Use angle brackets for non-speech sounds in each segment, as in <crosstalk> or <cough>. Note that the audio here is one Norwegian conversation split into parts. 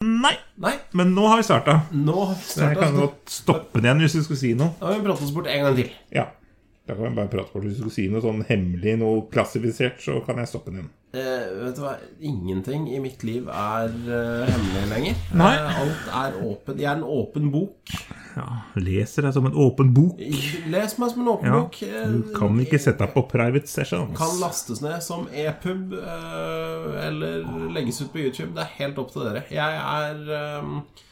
Nei, Nei, men nå har vi starta. Så nå jeg starta kan Da godt stoppe den igjen hvis du skulle si noe. må vi prate oss bort en gang til. Ja, Da kan vi bare prate bort. Hvis du skulle si noe sånn hemmelig, noe klassifisert, så kan jeg stoppe den igjen. Eh, vet du hva? Ingenting i mitt liv er eh, hemmelig lenger. Nei. Eh, alt er åpent. Jeg er en åpen bok. Ja, Leser deg som en åpen bok. Les meg som en åpen Ja, bok. Eh, Du kan ikke sette deg på private sessions. Kan lastes ned som e-pub eh, eller legges ut på YouTube. Det er helt opp til dere. Jeg er eh,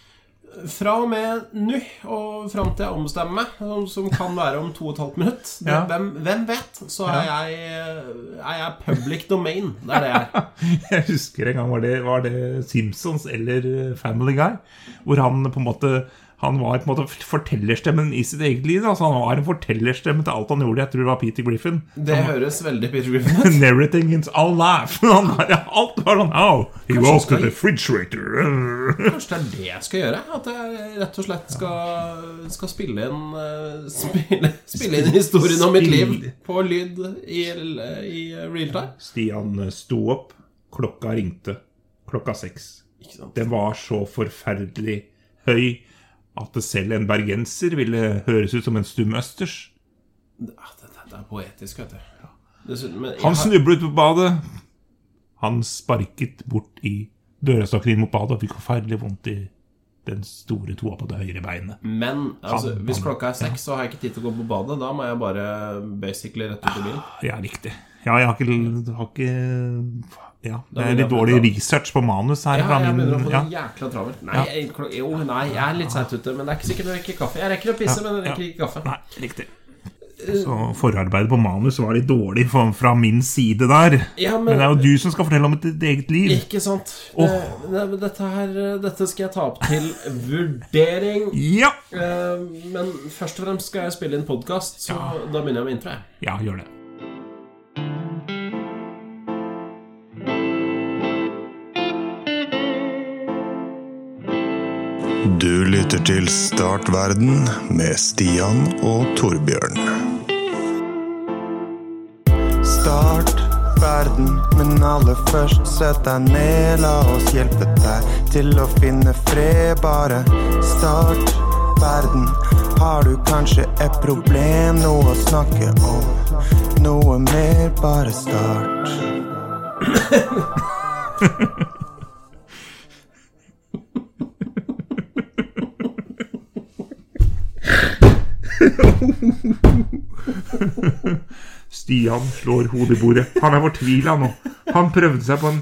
fra og med nå og fram til jeg ombestemmer meg, som, som kan være om to og et halvt minutt det, Ja. hvem, hvem vet? Så er jeg, eh, er jeg public domain. Det er det jeg er. <laughs> Jeg husker en gang var det, var det Simpsons eller eh, Family Guy, hvor han på en måte han var på en måte fortellerstemmen i sitt eget liv. Altså, han var en fortellerstemme til alt han gjorde. Jeg tror det var Peter Griffin. Det høres veldig Peter Griffin ut. And everything is all life. <laughs> Han var, alt var sånn Au! He was the refrigerator. <laughs> Kanskje det er det jeg skal gjøre? At jeg rett og slett skal, skal spille inn eh, Spille, spille inn historien om mitt liv Spill. på lyd i, i real time? Stian eh, sto opp. Klokka ringte. Klokka seks. Ikke sant? Den var så forferdelig høy at selv en bergenser ville høres ut som en stum østers. Ah, det, det, det er poetisk, vet du. Dessuten, men jeg Han har, snublet på badet. Han sparket bort i dørstokken inn mot badet og fikk forferdelig vondt i den store toa på det høyre beinet. men altså, Han- hvis han- klokka er seks, så har jeg ikke tid til å gå på badet. Da må jeg bare basically rett ut i bilen. Ja, riktig. Ja, jeg har ikke, har ikke Ja, det er litt Da- dårlig research på manus her. Ja, fra jeg begynner å min, få det ja. jækla travelt. Nei, jeg, klok- jo, nei, jeg er litt seint ute, men det er ikke sikkert jeg rekker kaffe. Jeg rekker å pisse, men jeg rekker ikke kaffe. Nei, riktig. Så forarbeidet på manus var litt dårlig fra, fra min side der. Ja, men- Men det er jo du som skal fortelle om ditt eget liv. Ikke sant? Det, det, men dette her Dette skal jeg ta opp til vurdering. <laughs> Ja! Eh, Men først og fremst skal jeg spille inn podkast, så da begynner jeg med intro. jeg. Ja, gjør det. Du lytter til Startverden med Stian og Torbjørn. Start verden, men aller først sett deg ned. La oss hjelpe deg til å finne fred. Bare start verden. Har du kanskje et problem, noe å snakke om? Noe mer, bare start. Stian slår hodet i bordet. Han er fortvila nå. Han prøvde seg på en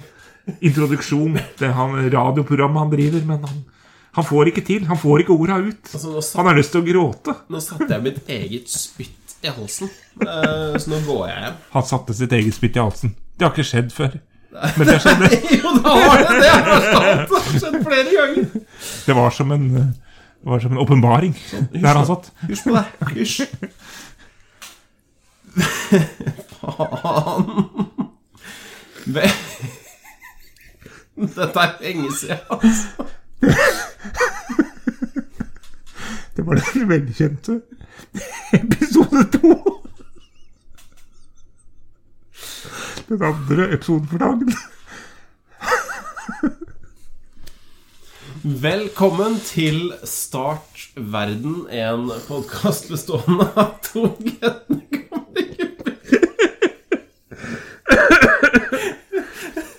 introduksjon. Det er han radioprogrammet han driver, men han, han får ikke til. Han får ikke orda ut. Altså, nå sa- Han har lyst til å gråte. Nå satte jeg mitt eget spytt i halsen, Eh, så nå går jeg hjem. Han satte sitt eget spytt i halsen. Det har ikke skjedd før. Men det skjedde. Jo, da har det det! har skjedd. <laughs> Det har skjedd flere ganger. Det var som en eh, det var som en åpenbaring der han satt. Hysj på deg. Hysj. Faen. Ve- <laughs> Dette er lenge siden, altså. Det var den velkjente episode to. Den andre episoden for dagen. Velkommen til Start verden, en podkast bestående av to gønne gamle gubber.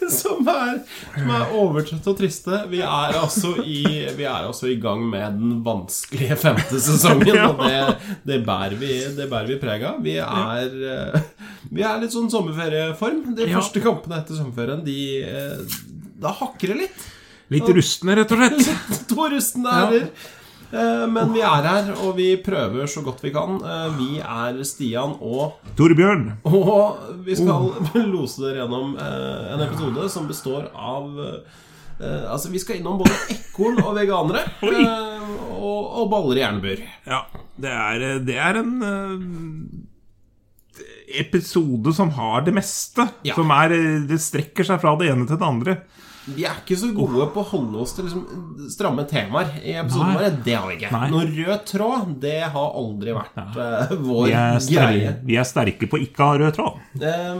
Som er, som er overtrøtte og triste. Vi er, altså i, vi er altså i gang med den vanskelige femte sesongen, og det, det bærer vi, det bærer vi preg av. Vi er, eh, vi er litt sånn sommerferieform. De Ja. første kampene etter sommerferien, de, eh, da hakker det litt. Litt rustne, rett og slett. <laughs> To rustne ærer. Eh, Men vi er her, og vi prøver så godt vi kan. Eh, Vi er Stian, og, Torbjørn, og vi skal Oh. <laughs> lose dere gjennom eh, en episode som består av eh, Altså, vi skal innom både ekorn og veganere. eh, Og, og baller i jernbur. Ja, det er, det er en eh, episode som har det meste. Ja. Som er, eh, det strekker seg fra det ene til det andre. Vi er ikke så gode på å holde oss til liksom stramme temaer i episoden Nei. vår. Det har vi ikke. Nei. Noen rød tråd, det har aldri vært eh, Vi vår er, greie. sterke, vi er sterke på ikke å ha rød tråd. Eh,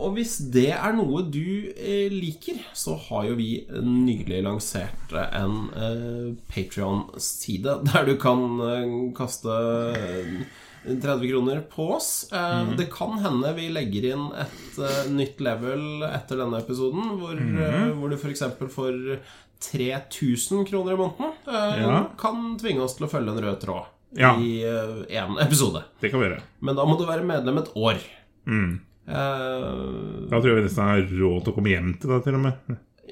og hvis det er noe du eh, liker, så har jo vi nylig lansert en eh, Patrion-side <laughs> der du kan eh, kaste eh, 30 kroner på oss. Eh, Mhm. Det kan hende vi legger inn et eh, nytt level etter denne episoden, hvor, eh, Mhm. hvor du f.eks. får 3000 kroner i måneden. Eh, Ja. Kan tvinge oss til å følge en rød tråd Ja. i én episode. Det kan vi gjøre. Men da må du være medlem et år. Mm. Eh, Da tror jeg vi nesten har råd til å komme hjem til deg, til og med.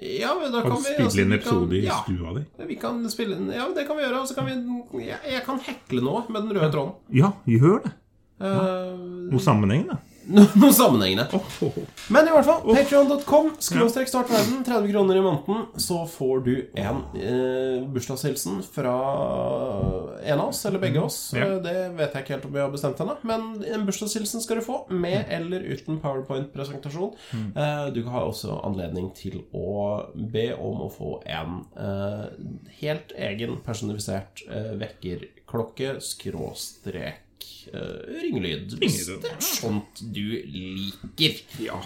ja, men da kan Kan vi spille altså, inn vi episode i kan, ja, stua di. Vi kan spille inn Ja, det kan vi gjøre. Og så kan vi Jeg, jeg kan hekle noe med den røde tråden. Ja, gjør det. Eh, Noe sammenheng, da. no, noe sammenhengende. Åh, Men i hvert fall, patreon.com skråstrek start verden. 30 kroner i måneden. Så får du en eh, bursdagshilsen fra en av oss, eller begge oss. Mm. Ja. Eh, Det vet jeg ikke helt om vi har bestemt ennå. Men en bursdagshilsen skal du få, med Mm. eller uten powerpoint-presentasjon. Eh, du har også anledning til å be om å få en eh, helt egen personifisert eh, vekkerklokke skråstrek eh, ringelyd. Hvis Ringelyd. det er sånt du liker.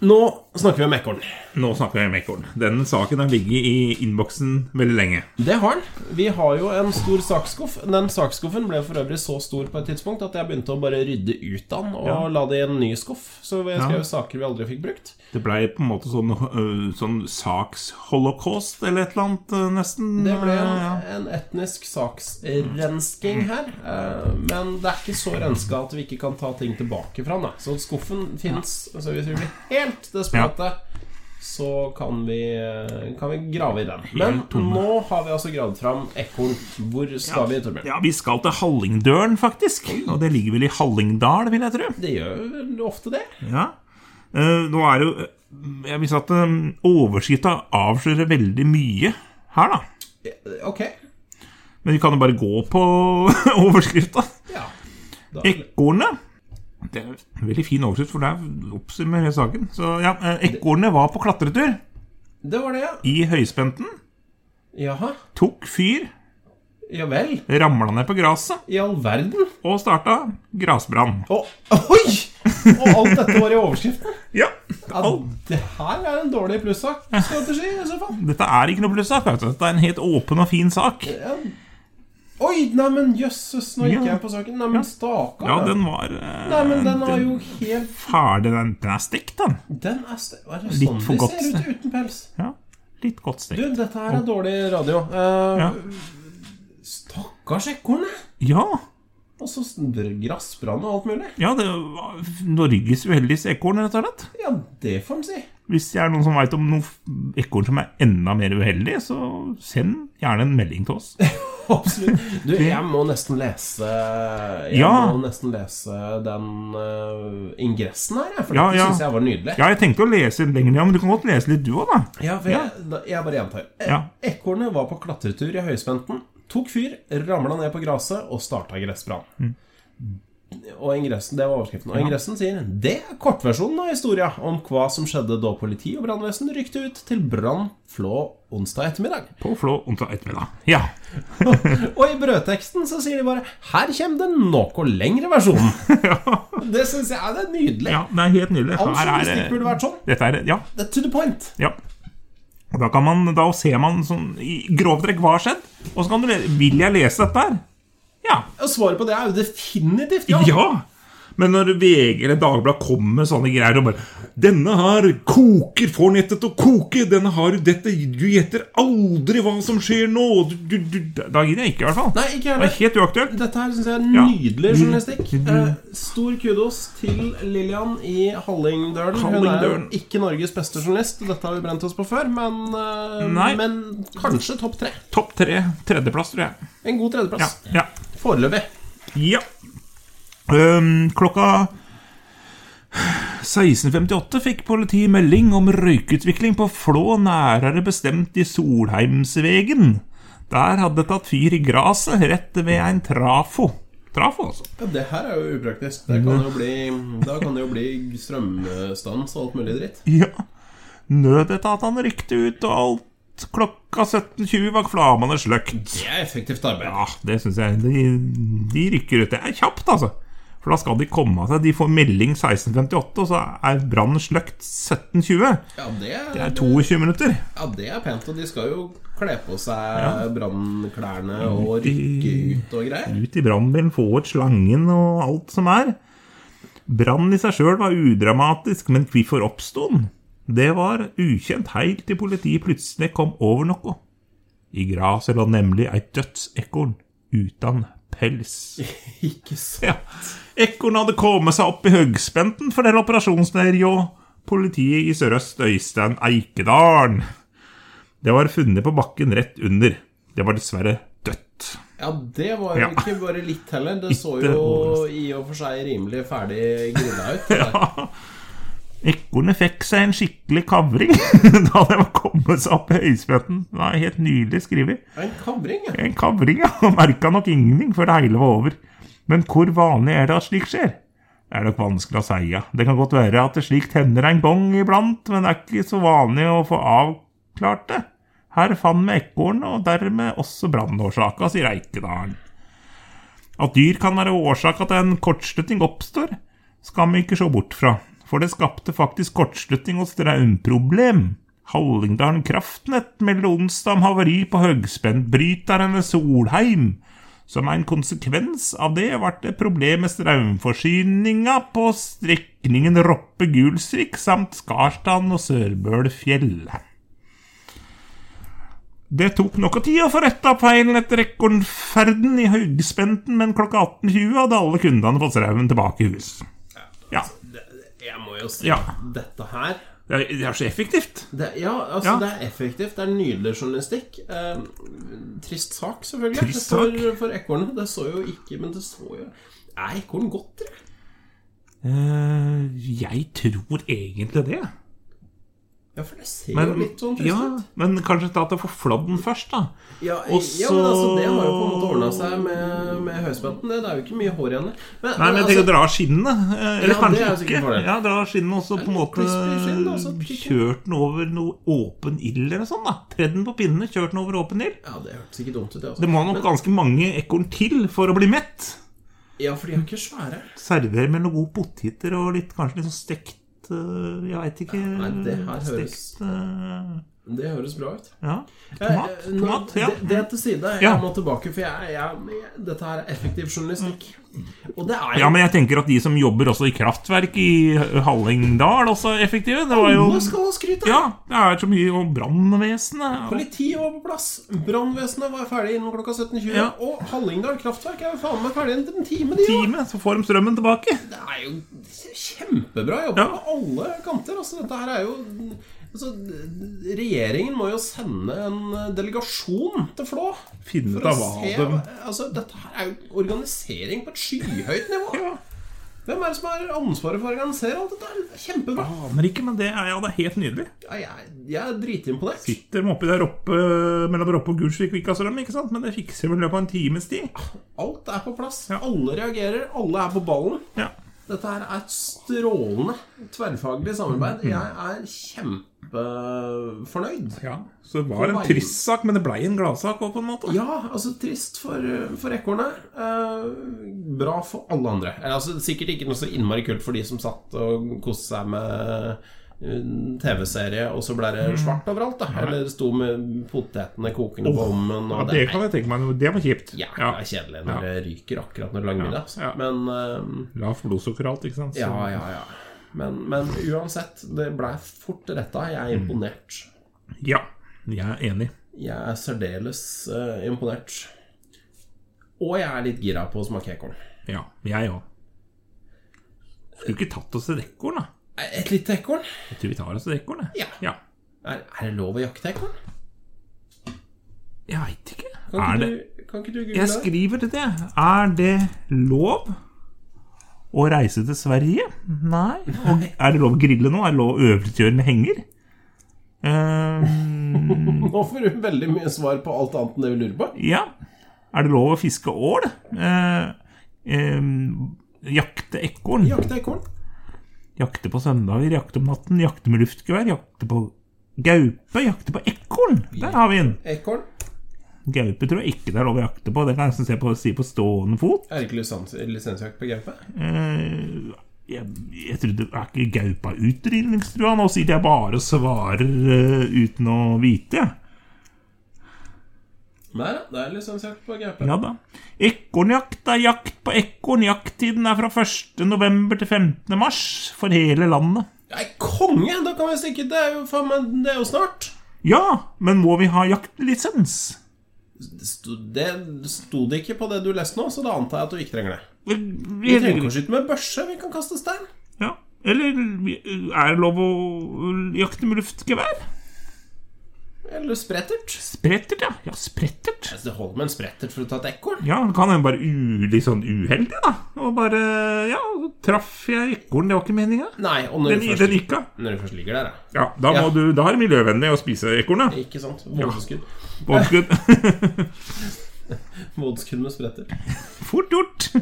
Nå snakker vi om ekorn. Nå snakker jeg om ekorn. Den saken har ligget i innboksen veldig lenge. Det har den. Vi har jo en stor saksskuff. Den saksskuffen ble for øvrig så stor på et tidspunkt at jeg begynte å bare rydde ut av den og Ja. la det i en ny skuff. Så jeg skrev Ja. saker vi aldri fikk brukt. Det blei på en måte sånn, øh, sånn saksholocaust eller et eller annet, øh, nesten. Det ble Ja, en, ja. en etnisk saksrensking her. eh, Men det er ikke så renska at vi ikke kan ta ting tilbake fra den. da. Så skuffen fins. Så hvis vi blir helt desperate, så kan vi, eh, kan vi grave i den. Men Helt tomme. nå har vi altså gravd fram ekorn. Hvor skal vi, Torbjørn? ja, vi skal til Hallingdølen, faktisk. Og det ligger vel i Hallingdal, vil jeg tro. Det gjør vel ofte det. Ja. Eh, nå er det jo øh, Jeg vil si at øh, overskrifta avslører veldig mye her, da. Ok. Men vi kan jo bare gå på <laughs> overskrifta. Ja. Da, Ekornet. Det er en veldig fin overskrift, for der oppsummerer hele saken. Så ja, eh, Ekornet var på klatretur det var det, ja. i høyspenten. Jaha. Tok fyr, Ja vel. ramla ned på gresset I all verden. og starta grasbrann. Å, oi! Og alt dette var i overskriften. Ja. Ja, det her er en dårlig plussak-strategi i så fall. Dette er ikke noe plussak. vet du. Dette er en helt åpen og fin sak. Ja. Oi, neimen jøsses, nå gikk Ja. jeg på saken. Neimen, stakkar. Ja, den var eh, Neimen, den har jo den- helt Ferdig, den, den er stekt, den. Den er st... Er det Litt sånn for de godt. ser ut uten pels? Ja, Litt godt Du, stekt. dette her er dårlig radio. Eh, Ja. Stakkars ekornet. Ja, Og så grassbrann og alt mulig. ja det var Norges uheldigste ekorn, rett og slett. Ja, det får en si. Hvis det er noen som veit om noe f- ekorn som er enda mer uheldig, så send gjerne en melding til oss. Absolutt. Du, jeg må nesten lese Jeg Ja. må nesten lese den eh, ingressen her, jeg, for Ja, det ja. syns jeg var nydelig. Ja, jeg tenkte å lese lenger, ja, men du kan godt lese litt du òg, da. Ja, for jeg, da- jeg bare gjentar. E- Ja. Ekornet var på klatretur i høyspenten, tok fyr, ramla ned på gresset og starta gressbrann. Mm. Og ingressen, Det var overskriften. Og ingressen sier det er kortversjonen av historia om hva som skjedde da politi og brannvesen rykte ut til brann Flå onsdag ettermiddag. På Flå onsdag ettermiddag. Ja. Og i brødteksten så sier de bare 'Her kommer den noe lengre <laughs> versjonen'. Det syns jeg det er nydelig. ja, det er helt nydelig. All Her er, journalistikk eh, burde vært sånn. dette er Ja, Det er to the point. Ja. Og da, kan man, da ser man sånn, i grove trekk hva har skjedd, og så kan du le Vil jeg lese dette her? Ja. Og svaret på det er jo definitivt ja. ja. Men når VG eller Dagbladet kommer med sånne greier og bare 'Denne her koker, får nettet til å koke. Denne har du dette Du gjetter aldri hva som skjer nå.' Du, du, du, da gidder jeg ikke, i hvert fall. Nei, ikke Det heller. er helt uaktuelt. Dette her syns jeg er Ja. nydelig journalistikk. Mm. Eh, stor kudos til Lillian i Hallingdølen. Hun er jo Hallingdølen. ikke Norges beste journalist, dette har vi brent oss på før, men, eh, Nei. men kanskje topp tre. Topp tre. Tredjeplass, tror jeg. En god Ja. tredjeplass. ja. Foreløpig. Ja. Øhm, klokka 16.58 fikk politiet melding om røykutvikling på Flå, nærere bestemt i Solheimsvegen. Der hadde det tatt fyr i gresset rett ved en trafo. Trafo, altså. Ja, det her er jo upraktisk. Det kan jo bli, da kan det jo bli strømstans og alt mulig dritt. Ja. Nødetatene rykte ut, og alt klokka 17.20 var flammene sløkt. Det er effektivt arbeid. Ja, Ah, det syns jeg. De, de rykker ut. Det er kjapt, altså. For da skal de komme av seg. De får melding 1658, og så er brannen sløkt 17.20. Ja, det er, Det er 22 minutter. Ja, det er pent, og de skal jo kle på seg brannklærne og rykke ut og greier. Ut i brannbilen, få ut slangen og alt som er. Brannen i seg sjøl var udramatisk, men hvorfor oppsto den? Det var ukjent helt til politiet plutselig kom over noe. I graset lå nemlig et dødsekorn uten pels. Ikke så Ja, Ekornet hadde kommet seg opp i høgspenten, forteller operasjonsleder Jå. Politiet i Sør-Øst Øystein Eikedalen. Det var funnet på bakken rett under. Det var dessverre dødt. Ja, det var Ja. jo ikke bare litt heller. Det så Ikke jo overraskende. i og for seg rimelig ferdig grilla <laughs> ut. det der. Ekornet fikk seg en skikkelig kavring <laughs> da det var kommet seg opp i høyspretten. Det var helt nydelig skrevet. Det er En kabring, ja. En kavring, ja. <laughs> Og merka nok ingenting før det hele var over. Men hvor vanlig er det at slikt skjer? Det er nok vanskelig å si. Ja. Det kan godt være at det slikt hender en gang iblant, men det er ikke så vanlig å få avklart det. Her fant vi ekornet, og dermed også brannårsaka, sier Eikedalen. At dyr kan være årsak at en kortslutning oppstår, skal vi ikke se bort fra. For det skapte faktisk kortslutning og strømproblem. Hallingdalen Kraftnett melder onsdag om havari på høgspentbryteren ved Solheim. Som en konsekvens av det ble det problem med strømforsyninga på strekningen Roppe-Gulsvik samt Skarstrand og Sørbølfjell. Det tok noe tid å få retta feilen etter rekordferden i høgspenten, men klokka 18.20 hadde alle kundene fått strauen tilbake i hus. Ja. Det- Jeg må jo si Ja. dette her Det er, det er så effektivt. det, Ja, altså, Ja. det er effektivt. Det er nydelig journalistikk. Eh, trist sak, selvfølgelig. Trist For, for ekornet. Det så jo ikke Men det så jo Er ekorn godt, dere? Eh, jeg tror egentlig det. Ja, for det ser Men, jo litt sånn trist ja, ut. men kanskje ta til å få flådd den først, da. Ja, Og ja, men altså, så- det har jo på en måte ordna seg med, med høyspenten. Det, det er jo ikke mye hår igjen der. Men, altså, Nei, men jeg tenker å dra av skinnene. eh, Eller Ja, det kanskje er jo sikkert ikke. fordel. Ja, dra av skinnene og så på en måte crispy skinn, da, så tykker jeg. kjørt den over noe åpen ild eller sånn, da. Tredd den på pinnene, kjørt den over åpen ild. ja, det hørtes ikke dumt ut, det. Det Altså. må nok ganske mange ekorn til for å bli mett. Ja, for de er jo ikke svære. Server med noen gode poteter og litt, kanskje litt sånn stekt øh, Jeg veit ikke. Nei, det her stekt, øh, Det høres bra ut. Ja. Eh, Tomat. nå- tomat ja. det, det er til side. Jeg Ja. må tilbake, for jeg, jeg, dette her er effektiv journalistikk. Og det er Mm. ja, jo men jeg tenker at de som jobber også i kraftverk i Hallingdal, også er effektive. Det var jo Alle skal ha skryt av! Ja, det er så mye om brannvesenet. og- Politiet var på plass. Brannvesenet var ferdig innen klokka 17.20. Ja. Og Hallingdal kraftverk er jo faen meg ferdig innen en time, de jo. Time, så får de strømmen tilbake. Det er jo kjempebra jobba Ja. på alle kanter. Altså, dette her er jo altså, Regjeringen må jo sende en delegasjon til Flå. Finne For ut å av hva se de altså, Dette her er jo organisering på et skyhøyt nivå. Ja. Hvem er det som har ansvaret for å organisere alt dette? her? Det er Kjempebra. Aner ikke, men det er, ja, det er helt nydelig. Ja, jeg, jeg er dritimponert. Sitter de oppi der oppe mellom Roppe og Gulsvik og ikke har strøm, ikke sant? men det fikser vi i løpet av en times tid. Alt er på plass. Ja. Alle reagerer. Alle er på ballen. Ja. Dette her er et strålende tverrfaglig Mm, samarbeid. Jeg er kjempefornøyd. Ja, så det var For en meg- trist sak, men det blei en gladsak òg, på en måte. Ja, altså trist for, for ekornet. Eh, bra for alle andre. Eh, Altså, sikkert ikke noe så innmari kult for de som satt og koste seg med eh, TV-serie, og så ble det Mm. svart overalt, da. Eller sto med potetene kokende på ovnen. Ja, Og det er kan jeg tenke meg. Det var kjipt. jævla kjedelig når det ryker akkurat når det er langmiddag. altså. Ja. Men eh, Lavt blodsukker og alt, ikke sant. Så- ja, ja, ja. Men, men uansett, det blei fort retta. Jeg Mm. er imponert. ja. Jeg er enig. Jeg er særdeles eh, imponert. Og jeg er litt gira på å smake ekorn. Ja, jeg òg. Skulle ikke tatt oss et ekorn, da. Eh, Et lite ekorn? Jeg tror vi tar oss et ekorn, jeg. Ja. Er, er det lov å jakte ekorn? Jeg veit ikke. Kan ikke Er det du, kan ikke du google Jeg det? skriver til det. Er det lov å reise til Sverige? Nei. Og er det lov å grille nå? Er det lov å øvelseskjøre med henger? <laughs> Ehm, Nå får du veldig mye svar på alt annet enn det vi lurer på. Ja. Er det lov å fiske ål? Eh, eh, jakte ekorn? Jakte ekorn? Jakte på søndager, jakte om natten, jakte med luftgevær, jakte på Gaupe jakter på ekorn. Der har vi den. Ekorn? Gaupe tror jeg ikke det er lov å jakte på. Det kan jeg nesten se på, si på stående fot. Er det ikke lisens, lisensjakt på gaupe? Eh, jeg, jeg trodde Er ikke gaupa utrydningstrua? Nå sitter jeg bare og svarer eh, uten å vite, jeg. Nei, det er lisensjakt på gaupe. Ja da. Ekornjakt er jakt på ekorn. Jakttiden er fra 1. november til 15. mars for hele landet. Nei, konge! Da kan vi stikke. Det er jo faen meg Det er jo snart. Ja, men må vi ha jaktlisens? Det sto, det sto det ikke på det du leste nå, så da antar jeg at du ikke trenger det. Vel, Vi vi- trenger ikke å skyte med børse, vi kan kaste stein. Ja. Eller er det lov å jakte med luftgevær? Eller sprettert. Sprettert, ja. Ja, sprettert. Altså, det holder med en sprettert for å ta et ekorn. Ja, det kan hende bare u, litt sånn uheldig, da. Og bare Ja, så traff jeg ekorn, det var ikke meninga. Nei, og når Den, du den først, gikk av. når du først ligger der, ja. Ja, da, må Ja. Du, da er det miljøvennlig å spise ekornet. Ikke sant? Vådeskudd. Vådeskudd. Vådeskudd med sprettert. <laughs> Fort gjort.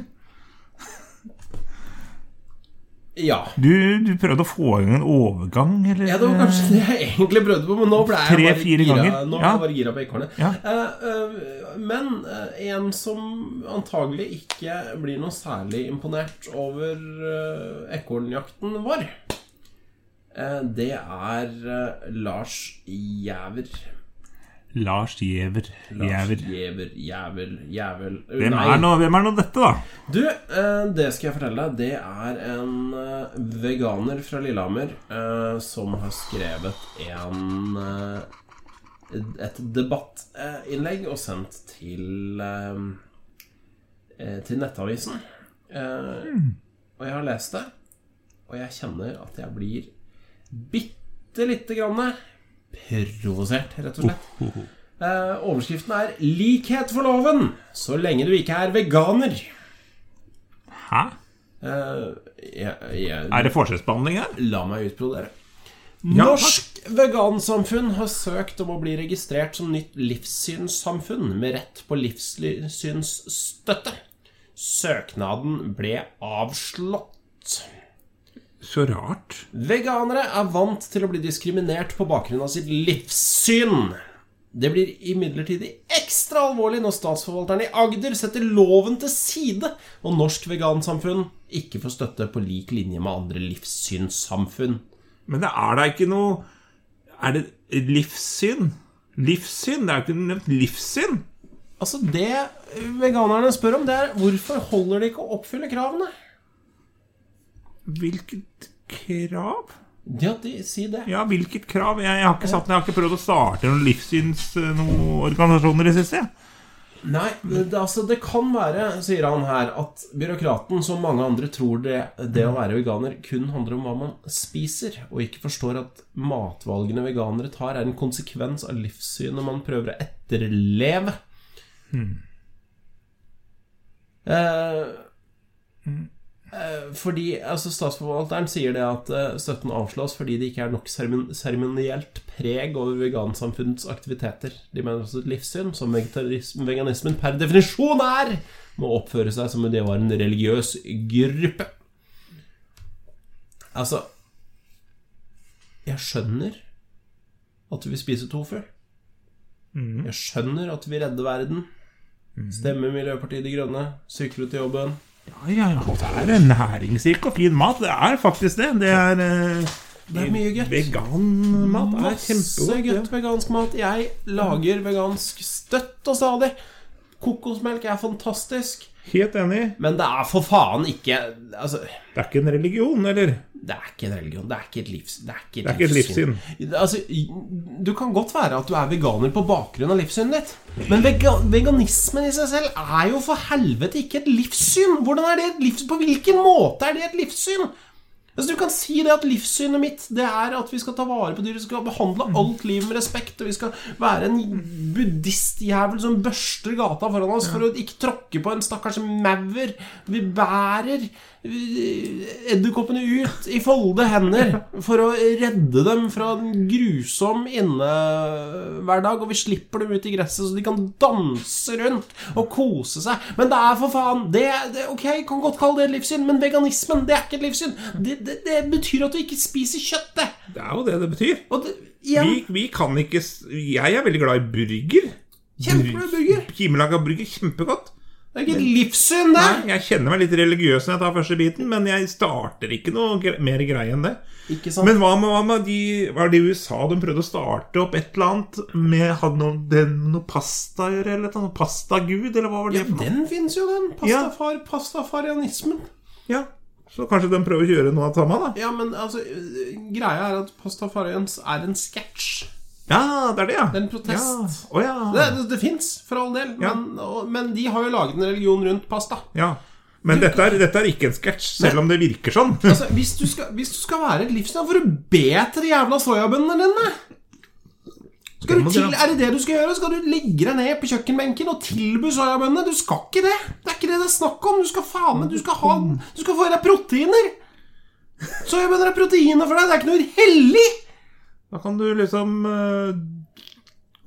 Ja. Du, du prøvde å få i gang en overgang, eller? Ja, det var kanskje det jeg egentlig prøvde på, men nå ble jeg bare Tre-fire gira, ganger, nå ble ja. jeg bare gira på ekornet. Ja. Eh, eh, men eh, en som antagelig ikke blir noe særlig imponert over eh, ekornjakten vår, eh, det er eh, Lars Jæver. Lars Giæver. Lars Giæver. Jæver, Jævel, Jævel Hvem Nei. er nå hvem er nå dette, da? Du, eh, det skal jeg fortelle deg. Det er en eh, veganer fra Lillehammer eh, som har skrevet en eh, et debattinnlegg eh, og sendt til eh, eh, til Nettavisen. Eh, Og jeg har lest det, og jeg kjenner at jeg blir bitte lite grann provosert, rett og slett. Eh, overskriften er 'Likhet for loven så lenge du ikke er veganer'. Hæ? Eh, jeg, jeg, Er det forskjellsbehandling her? La meg utbrodere. Ja, takk. Norsk vegansamfunn har søkt om å bli registrert som nytt livssynssamfunn med rett på livssynsstøtte. Søknaden ble avslått. Så rart. Veganere er vant til å bli diskriminert på bakgrunn av sitt livssyn. Det blir imidlertid ekstra alvorlig når statsforvalteren i Agder setter loven til side, og norsk vegansamfunn ikke får støtte på lik linje med andre livssynssamfunn. Men det er da ikke noe Er det livssyn? Livssyn? Det er jo ikke nevnt livssyn. Altså, det veganerne spør om, det er hvorfor holder de ikke å oppfylle kravene? Hvilket krav? Ja, de sier det. Ja, hvilket krav? Jeg, jeg, har, ikke satt, jeg har ikke prøvd å starte noen livssyns eh, noen organisasjoner i det siste. jeg. Nei, det, altså det kan være, sier han her, at byråkraten som mange andre tror det, det å være veganer kun handler om hva man spiser, og ikke forstår at matvalgene veganere tar er en konsekvens av livssynet man prøver å etterleve. Eh, eh, fordi altså Statsforvalteren sier det at eh, støtten avslås fordi det ikke er nok seremon- seremonielt preg over vegansamfunnets aktiviteter. De mener også et livssyn, som vegetarism- veganismen per definisjon er, må oppføre seg som om det var en religiøs gruppe. Altså Jeg skjønner at du vil spise tofu. Jeg skjønner at du vil redde verden. Stemme Miljøpartiet De Grønne, sykle til jobben. Ja, ja, ja. Det er en næringsrik og fin mat. Det er faktisk det. Det er eh, Det er mye gøtt. Veganmat er Masse kjempegodt. godt vegansk mat. Jeg lager vegansk støtt og stadig. Kokosmelk er fantastisk. Ja. Helt enig. Men det er for faen ikke Altså, Det er ikke en religion, eller? det er ikke en religion. Det er ikke et livs... Det er ikke et, Det er ikke et Altså, du kan godt være at du er veganer på bakgrunn av livssynet ditt, men vega veganismen i seg selv er jo for helvete ikke et livssyn! Hvordan er det et livs... På hvilken måte er det et livssyn? Altså, du kan si det at livssynet mitt Det er at vi skal ta vare på dyr, vi skal behandle alt liv med respekt, og vi skal være en buddhistjævel som børster gata foran oss for å ikke tråkke på en stakkars maur. Vi bærer eh, edderkoppene ut i folde hender for å redde dem fra en grusom innehverdag, og vi slipper dem ut i gresset så de kan danse rundt og kose seg. Men det er for faen det, det, Ok, kan godt kalle det et livssyn, men veganismen, det er ikke et livssyn. Det, det, det betyr at du ikke spiser kjøtt, det. Det er jo det det betyr. Og det, Vi, igjen, vi kan ikke s- Jeg er veldig glad i burger. kjempebra burger. Hjemmelaga burger. Kjempegodt. Det er ikke et livssyn, det. Nei, jeg kjenner meg litt religiøs når jeg tar første biten, men jeg starter ikke noe gre mer greie enn det. Ikke sant? Men hva med, hva med de Var det i USA de prøvde å starte opp et eller annet med Hadde noe, det noe pasta å gjøre, eller noe? Pastagud, eller hva var det? ja, den fins jo, den. Pastafar, Pastafarianismen. Ja. Så kanskje de prøver å gjøre noe av det samme, da? Ja, men altså, øh, greia er at pastafarians er en sketsj. Ja, det er det, ja. Det er en protest. Ja. Å ja. Det, det, det fins, for all del, Ja. men, og, men de har jo laget en religion rundt pasta. ja. Men dette er, dette er ikke en sketsj, selv om det virker sånn. Altså, Hvis du skal, hvis du skal være et livsstil, får du be etter de jævla soyabøndene dine! Skal Det du må til, dere- er det det du skal gjøre? Skal du legge deg ned på kjøkkenbenken og tilby soyabøndene? Du skal ikke det! Det er ikke det det er snakk om! Du skal faen meg Du skal ha Du skal få i deg proteiner! Soyabønner er proteiner for deg, det er ikke noe hellig! Da kan du liksom eh,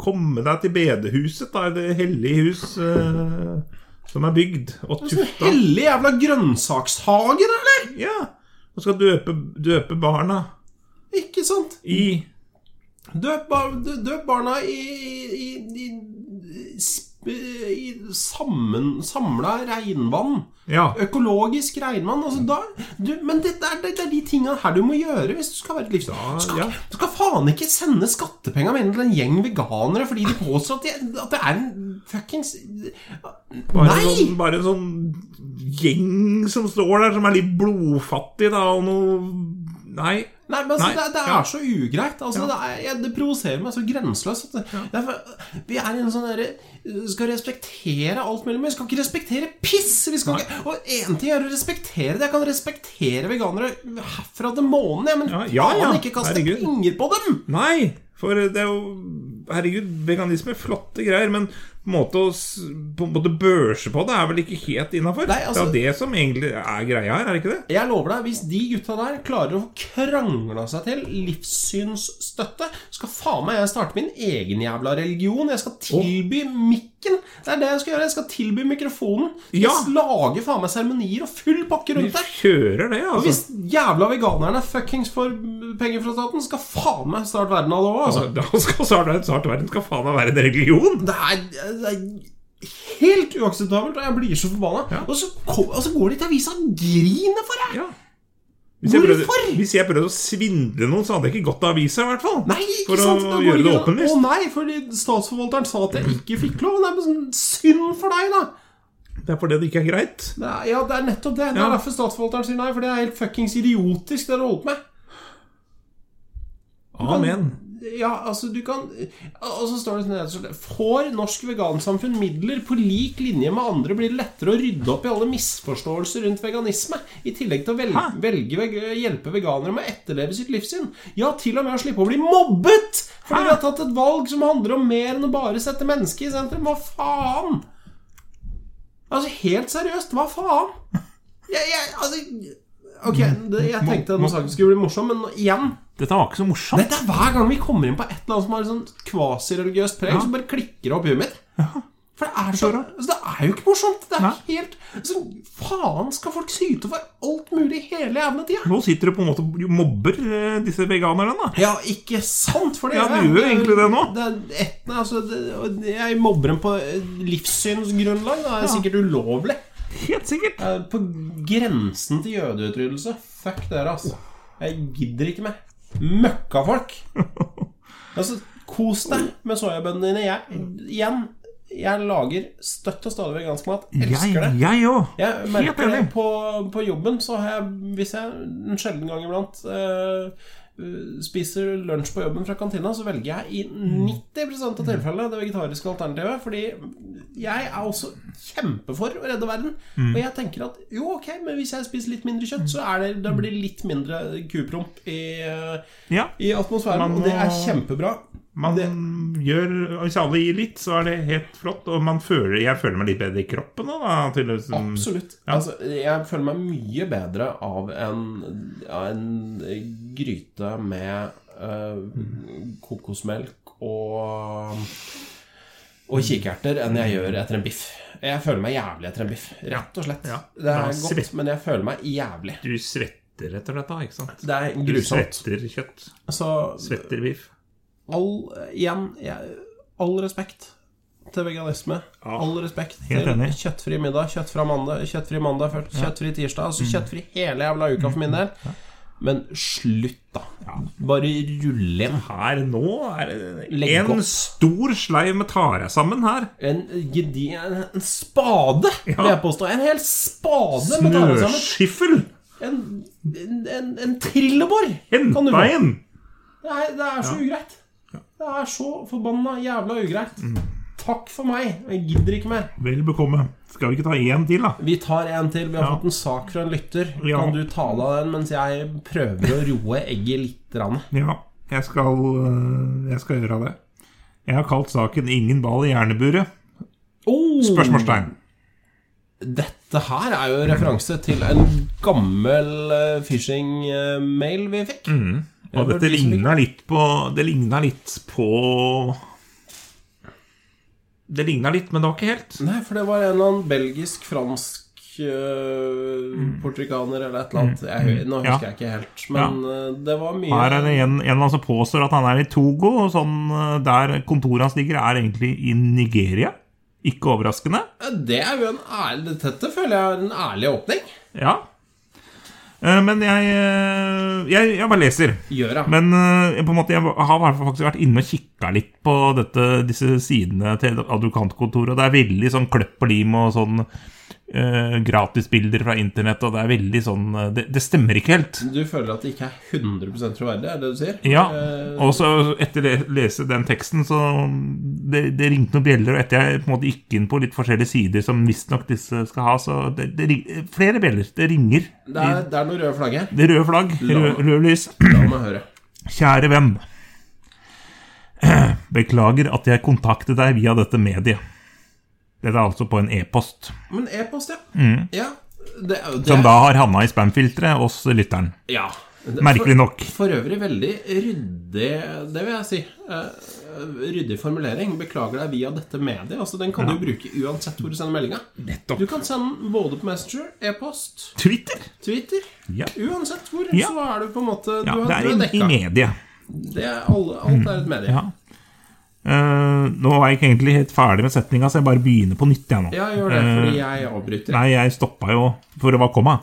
komme deg til bedehuset, da. Det hellige hus eh, som er bygd og Altså, tufta. Hellig jævla grønnsakshager, eller? Ja. Og skal døpe, døpe barna Ikke sant? i Døp, bar dø- døp barna i, i, i, i, sp- i sammen, samla regnvann. Ja. Økologisk regnvann. Altså da, du, men dette er, dette er de tinga her du må gjøre hvis du skal være et livsfarlig. Du, skal ja. ikke- du skal faen ikke sende skattepenga mine til en gjeng veganere fordi de påstår at, de, at det er en fuckings Bare, Nei! En sånn, bare en sånn gjeng som står der, som er litt blodfattig, da, og noe Nei. Nei, men altså, Nei, det, det er ja. så ugreit. Altså, Ja. det, er, jeg- det provoserer meg så grenseløst. At, det er for- vi er i en sånn derre uh, Skal respektere alt mulig, men vi skal ikke respektere piss! Vi skal ikke, og én ting er å respektere det. Jeg kan respektere veganere herfra til månen, jeg, men Ja, ja, ja. faen ikke kaste Herregud. penger på dem! Nei! For det er jo Herregud, veganisme er flotte greier, men på en måte å s- på en måte børse på det er vel ikke helt innafor? Nei, altså- Det er jo det som egentlig er greia her, er det ikke det? Jeg lover deg, hvis de gutta der klarer å krangle seg til livssynsstøtte, skal faen meg jeg starte min egen jævla religion. Jeg skal tilby mikken. Det er det jeg skal gjøre. Jeg skal tilby mikrofonen. Jeg Ja. skal lage faen meg seremonier og full pakke Vi rundt deg. kjører det, altså. Hvis jævla veganerne fuckings får penger fra staten, skal faen meg starte verden av det òg, altså. Altså, Da skal snart, snart verden skal faen meg være en religion! Det er, det er helt uakseptabelt, og jeg blir så forbanna. Ja. Og, så kom- og så går de til avisa og griner for deg! Ja. Hvis jeg, prøvde, Hvorfor? hvis jeg prøvde å svindle noen, så hadde jeg ikke gått av avisa, i hvert fall. Nei, ikke For å sant? Da går gjøre det ikke- åpenlyst. Å nei, fordi statsforvalteren sa at jeg ikke fikk lov. Nei, men sånn, synd for deg, da! Det er fordi det ikke er greit. Nei, ja, det er nettopp det. Det er Ja. derfor statsforvalteren sier nei, for det er helt fuckings idiotisk, det du holder på med. Amen. Ja, altså, du kan Og så står det sånn nederst Får norsk vegansamfunn midler på lik linje med andre, blir det lettere å rydde opp i alle misforståelser rundt veganisme, i tillegg til å velge, Hæ? velge veg- hjelpe veganere med å etterleve sitt livssyn. Ja, til og med å slippe å bli mobbet! Hæ? Fordi vi har tatt et valg som handler om mer enn å bare sette mennesket i sentrum. Hva faen? Altså, helt seriøst, hva faen? Jeg, jeg altså Ok, det, jeg tenkte denne saken skulle bli morsom, men igjen Dette var ikke så morsomt. dette er hver gang vi kommer inn på et eller annet som har sånn kvasireligiøst preg, så bare klikker det opp i huet mitt. For det er så rart. Altså, det er jo ikke morsomt. Det er Nei. helt altså, Faen skal folk syte for alt mulig hele jævla tida? Nå sitter du på en måte og mobber eh, disse veganerne, da. Ja, ikke sant? For det Ja, er- du gjør egentlig det nå. Det er et, nei, altså, det, og jeg mobber dem på eh, livssynsgrunnlag. da. Det er sikkert ulovlig. Helt sikkert. Eh, På grensen til jødeutryddelse. Fuck dere, altså. Jeg gidder ikke mer. Møkkafolk. Altså, kos deg med soyabønnene dine. Jeg, igjen, jeg lager støtt og stadig vegansk mat. Elsker det. Jeg òg. Jeg Helt merker det enig. på, på jobben, så har jeg, hvis jeg en sjelden gang iblant eh, eh, spiser lunsj på jobben fra kantina, så velger jeg i Mm. 90 av tilfellene det vegetariske alternativet. Fordi jeg er også kjempefor å redde verden. Mm. Og jeg tenker at jo, ok, men hvis jeg spiser litt mindre kjøtt, så er det, da blir det litt mindre kupromp i, eh, Ja. i atmosfæren. Man Og det er må- kjempebra. Man gjør Hvis alle gir litt, så er det helt flott. Og man føler, jeg føler meg litt bedre i kroppen nå, da. Tydeligvis. mm, Absolutt. Altså, jeg føler meg mye bedre av en, av en gryte med eh, kokosmelk og, og kikerter enn jeg gjør etter en biff. Jeg føler meg jævlig etter en biff, rett og slett. Ja. Det Ja, er godt, svett. men jeg føler meg jævlig. Du svetter svetter etter dette, ikke sant? Det er Du grusomt. svetter kjøtt. Så Svetter biff. all eh, Igjen, jeg, all respekt til veganisme. All respekt Helt til enig. kjøttfri middag, kjøttfri mandag, kjøttfri mandag først, kjøttfri Mm. tirsdag. Altså kjøttfri hele jævla uka for min del. Men slutt, da. Bare rull inn. Her nå er det Legg en opp. stor sleiv med tar jeg sammen her. En, gedi- en, en spade, vil jeg påstå. En hel spade med tare sammen. Snøskiffel! En, en, en, en trillebår. Hent kan du få. deg en! Det er, det er så ugreit. Det er så forbanna jævla ugreit. Mm. Takk for meg. Jeg gidder ikke mer. Vel bekomme. Skal vi ikke ta én til, da? Vi tar en til. Vi har Ja. fått en sak fra en lytter. Ja. Kan du ta deg av den mens jeg prøver å roe egget litt? Rann? Ja, jeg skal, øh, jeg skal gjøre det. Jeg har kalt saken 'Ingen ball i jerneburet'. Oh, Spørsmålstegn. Dette her er jo en referanse til en gammel eh, phishing-mail vi fikk. Og Ja, Mm. dette de som ligna litt på Det ligna litt på Det ligna litt, men det var ikke helt. Nei, for det var en eller annen belgisk, fransk eh, Portuganer eller et eller annet. Jeg, nå Mm. Ja. husker jeg ikke helt. Men eh, det var mye Her er det en, en eller annen som påstår at han er i Togo, og sånn øh, der kontoret hans ligger, er egentlig i Nigeria. Ikke overraskende. Ja, Det er jo en ærlig Dette føler jeg er en ærlig åpning. Ja. Eh, Men jeg, eh, jeg, jeg bare leser. Gjør jeg. Men eh, jeg, på en måte, jeg har i hvert fall faktisk vært inne og kikka litt på dette, disse sidene til advokatkontoret. Og det er veldig sånn kløpp og lim og sånn eh, gratisbilder fra internett. Og det er veldig sånn eh, det, det stemmer ikke helt. Du føler at det ikke er 100 troverdig, er det du sier? Ja, Eh, og så etter å lese den teksten, så det, det ringte noen bjeller, og etter jeg på en måte gikk inn på litt forskjellige sider som visstnok disse skal ha, så det, det, ring- Flere bjeller. Det ringer. det, er, det er noe røde flagg her. Det røde flagg, rød, rød lys. <clears throat> La meg høre. Kjære venn. <clears throat> Beklager at jeg kontaktet deg via dette mediet. Dette er altså på en e-post, Men e-post, ja. ja. Det, er jo- det, Mm. som er- da har havna i spamfilteret hos lytteren. ja. Det- Merkelig nok. For, for øvrig veldig ryddig, det vil jeg si. Eh, ryddig formulering. Beklager deg via dette mediet. Altså, den kan du bruke uansett hvor du sender meldinga. Du kan sende den både på Messenger, e-post, Twitter! Twitter. Ja. Uansett hvor, Ja. så er du på en måte Ja, Du har, det er du i, har i Mm. dekka. mediet. Det er alle, alt er et medie. Ja. Eh, nå var jeg ikke egentlig helt ferdig med setninga, så jeg bare begynner på nytt. jeg nå Ja, gjør det, Eh, fordi jeg avbryter. Nei, jeg stoppa jo for å hva komma.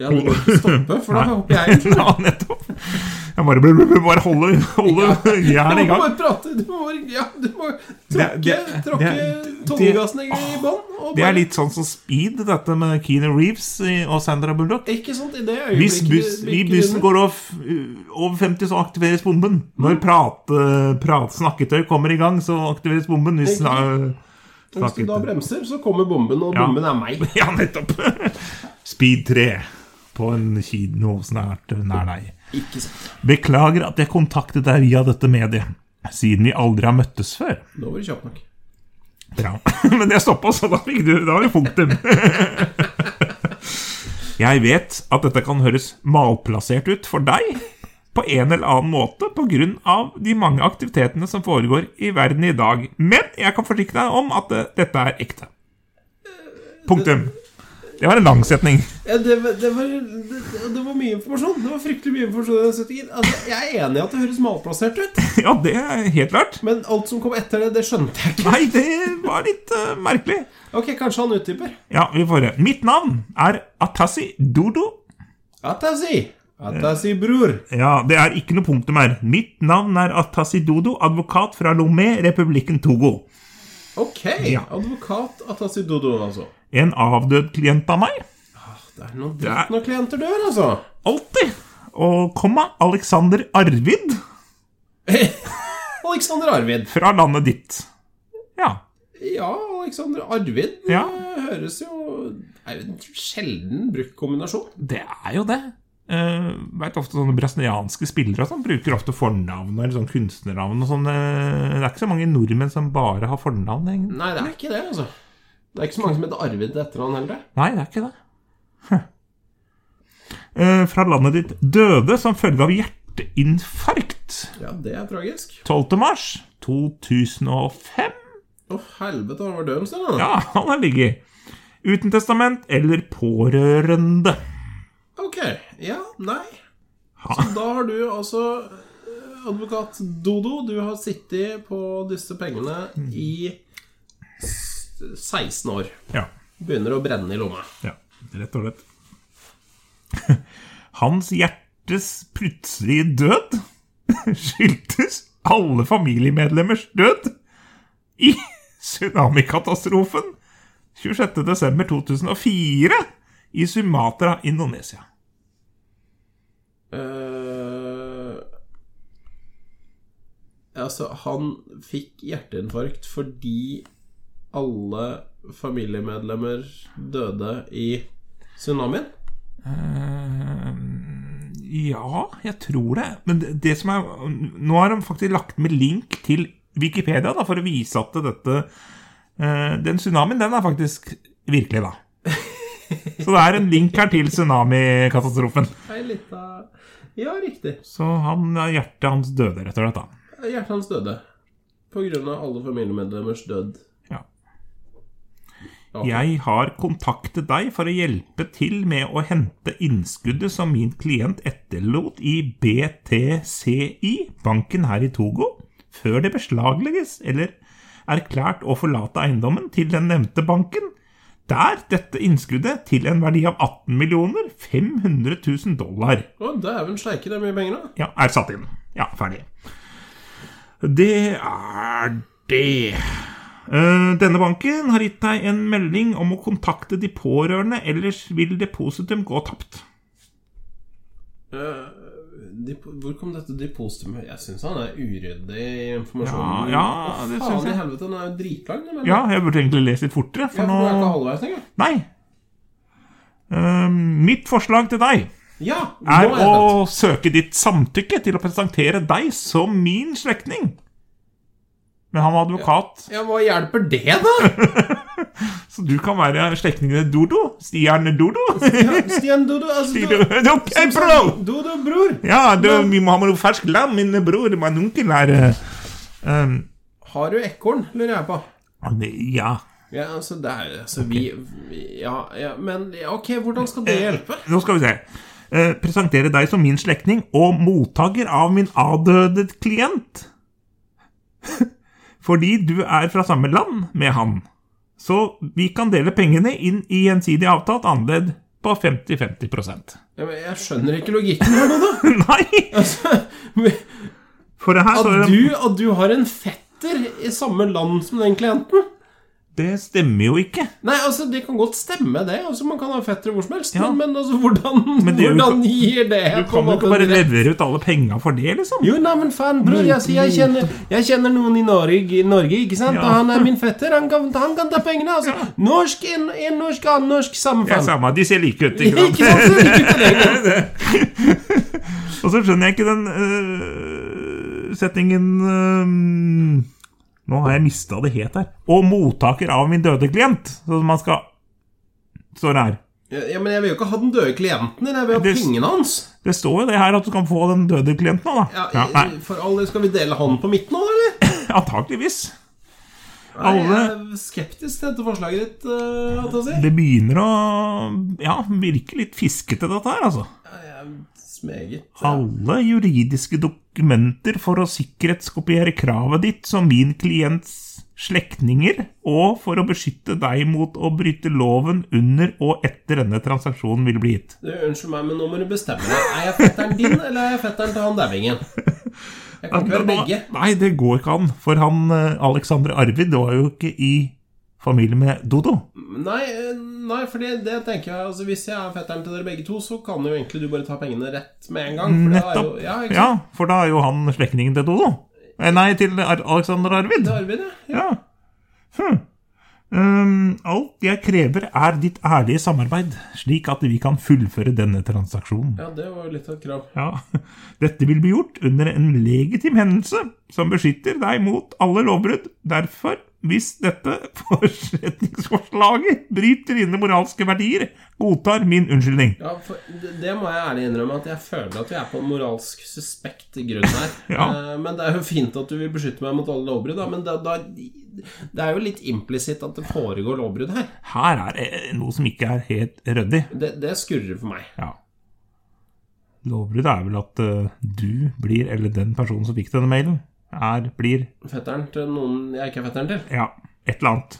Ja, du må ikke stoppe, for da hopper jeg ut. <laughs> Ja, nettopp. Jeg bare, bare holde, holde Du <laughs> jernet i må gang. bare prate. Du må, bare- ja, du må Det- tråkke, det- tråkke det- tånegassen i i bånn. og Det bare- er litt sånn som speed, dette med Keanu Reeves i- og Sandra Bullock. Ikke sant? I det Hvis øyeblikket buss, det vi virker bussen under. går off, uh, over 50, så aktiveres bomben. Mm. Når prate, prat, snakketøy kommer i gang, så aktiveres bomben. Hvis, sna- Hvis du da snakketøy. bremser, så kommer bomben, og Ja. bomben er meg. <laughs> Ja, nettopp! Speed 3 på en kino snart nær deg. Ikke sant? Beklager at jeg kontaktet deg via dette mediet, siden vi aldri har møttes før. Da var det kjapt nok. Bra. <laughs> Men jeg stoppa, så da fikk du <laughs> Da var det punktum. Jeg vet at dette kan høres malplassert ut for deg på en eller annen måte pga. de mange aktivitetene som foregår i verden i dag, men jeg kan forsikre deg om at det, dette er ekte. Punktum. Det var en lang setning. <laughs> Ja, det, var- det, var, det, det var mye informasjon. Det var fryktelig mye informasjon. i den settingen. Altså, jeg er enig i at det høres malplassert ut, Ja, det er helt klart. men alt som kom etter det, det skjønte jeg ikke. Nei, det var litt eh, merkelig. Ok, kanskje han utdyper. Ja, vi får høre. Mitt navn er Atasi Dodo Atasi! Atasi, bror. Ja, det er ikke noe punktum her. Mitt navn er Atasi Dodo, advokat fra Lomé, republikken Togo. Ok. Ja. Advokat Atasi Dodo, altså. En avdød klient av meg. Ah, Det er er- noen dritt når klienter dør, altså. Alltid. Og komma Alexander Arvid Alexander Arvid. fra landet ditt. Ja. Ja, Alexander Arvid Ja. eh, høres jo Er jo en sjelden brukt kombinasjon. Det er jo det. Uh, vet ofte sånne Brasilianske spillere og sånn bruker ofte fornavn eller sånn kunstnernavn. og sånn eh, Det er ikke så mange nordmenn som bare har fornavn. egentlig. Nei, det er ikke det, altså. Det er ikke så mange som heter Arvid etter han heller. Nei, det er ikke det. Huh. Eh, fra landet ditt døde som følge av hjerteinfarkt. Ja, det er tragisk. 12. mars 2005. Å, helvete, han var død en stund, da. Ja, han har ligget. Uten testament eller pårørende. Ok. Ja, nei. Så da har du altså eh, Advokat Dodo, du har sittet på disse pengene i s- 16 år. Ja. Begynner å brenne i lomma. ja. Rett og slett. <laughs> Hans hjertes plutselige død <laughs> skyldtes alle familiemedlemmers død i <laughs> tsunamikatastrofen 26.12.2004 i Sumatra, Indonesia. Eh, altså, han fikk hjerteinfarkt fordi alle familiemedlemmer døde i tsunamien. Eh, Ja, jeg tror det. Men det, det som er Nå har de faktisk lagt med link til Wikipedia da, for å vise at dette eh, Den tsunamien, den er faktisk virkelig, da. Så det er en link her til tsunamikatastrofen. Ei lita Ja, riktig. Så han, hjertet hans døde, rett og slett. da Hjertet hans døde. På grunn av alle familiemedlemmers død. ja. Ja. Jeg har kontaktet deg for å hjelpe til med å hente innskuddet som min klient etterlot i BTCI, banken her i Togo, før det beslaglegges eller erklært å forlate eiendommen til den nevnte banken, der dette innskuddet til en verdi av 18 millioner 500 000 dollar Å, dæven steike, det er mye penger, da. ja, er satt inn. Ja, ferdig. Det er det. Eh, Denne banken har gitt deg en melding om å kontakte de pårørende, ellers vil depositum gå tapt. Dip- Eh, Hvor kom dette depositumet Jeg syns han er uryddig i Ja, informasjonen. ja, Å, det faen synes jeg. i helvete, den er jo dritlang, den meldingen. Ja, jeg burde egentlig lese litt fortere, Ja, for for nå er ikke nå halvveis engang. Nei. Eh, mitt forslag til deg Ja, nå er er jeg spent. å søke ditt samtykke til å presentere deg som min slektning. Men han er advokat, Ja, hva hjelper <laughs> det, da? så du kan være slektningen til Dodo. Stian Dodo. Ja, Stian Dodo, altså <laughs> Sier du, du- Ok, bror! Dodo, bror. Ja, du, vi må ha med noe fersk lam. Min bror, min onkel, er eh, um, Har du ekorn, lurer jeg på. han- Ja. Ja, altså, det er Altså, vi vi- Ja, ja, men ja, Ok, hvordan skal det hjelpe? Nå skal vi se. Eh, presentere deg som min slektning og mottaker av min avdøde klient. <laughs> Fordi du er fra samme land med han. Så vi kan dele pengene inn i gjensidig avtalt andel på 50-50 Ja, men Jeg skjønner ikke logikken her, Dodo. <laughs> <laughs> Nei! Altså, For det her så er At det- du, at du har en fetter i samme land som den klienten? Det stemmer jo ikke. Nei, altså, det kan godt stemme, det. Altså, Man kan ha fettere hvor som helst. Men, men altså, hvordan, det er jo hvordan gir det Du kan jo ikke bare levere ut alle penga for det, liksom. Jo, nei, men faen, bror, jeg, sier, jeg, kjenner, jeg kjenner noen i Norge, i Norge ikke sant? Ja. Og han er min fetter, han kan, han kan ta pengene. Altså. Norsk, en, en norsk, annen norsk, samme Det er faen. samme, De ser like ut, ikke sant? <laughs> Ikke sant? Så liker du <laughs> det, ikke sant? Og så skjønner jeg ikke den øh, setningen øh, Nå har jeg mista det het her. Og mottaker av min døde klient. Så man skal Står det her. Ja, men jeg vil jo ikke ha den døde klienten din, jeg vil ha Det- pengene hans. Det står jo det her at du kan få den døde klienten òg, da. Ja, Ja, nei, for alle, skal vi dele han på midten nå, eller? antakeligvis. Nei, jeg Alle- er skeptisk til dette forslaget ditt, eh, hatt å si. Det begynner å ja, virke litt fiskete, dette her, altså. Jeg er Meget. Alle juridiske dokumenter for å sikkerhetskopiere kravet ditt som min klients slektninger, og for å beskytte deg mot å bryte loven under og etter denne transaksjonen vil bli gitt. Du, unnskyld meg, men nå må du bestemme deg. Er jeg fetteren din, eller er jeg fetteren til han dævingen? Jeg kan ikke være begge. Nei, det går ikke an, for han eh, Alexander Arvid var jo ikke i familie med Dodo. Nei, eh, nei for det, det tenker jeg altså, Hvis jeg er fetteren til dere begge to, så kan jo egentlig du bare ta pengene rett med en gang. For det er jo, Nettopp. ja, ikke Ja, sant? for da er jo han slektningen til Dodo. Eh, Nei, til Ar- Alexander Arvid. Det er Arvid, ja. Ja. Hm. Ehm, alt jeg krever, er ditt ærlige samarbeid, slik at vi kan fullføre denne transaksjonen. ja, det var jo litt av et krav. Ja. Dette vil bli gjort under en legitim hendelse som beskytter deg mot alle lovbrudd. Derfor, hvis dette <laughs> forretningsforslaget bryter dine moralske verdier, godtar min unnskyldning. Ja, for det, det må jeg ærlig innrømme, at jeg føler at vi er på en moralsk suspekt grunn her. <laughs> Ja. Eh, Men det er jo fint at du vil beskytte meg mot alle lovbrudd, da, men da, da, det er jo litt implisitt at det foregår lovbrudd her. Her er eh, noe som ikke er helt ryddig. Det, det skurrer for meg. Ja. Lovbruddet er vel at eh, du blir, eller den personen som fikk denne mailen, er, blir, Fetteren til noen jeg ikke er fetteren til. ja, et eller annet.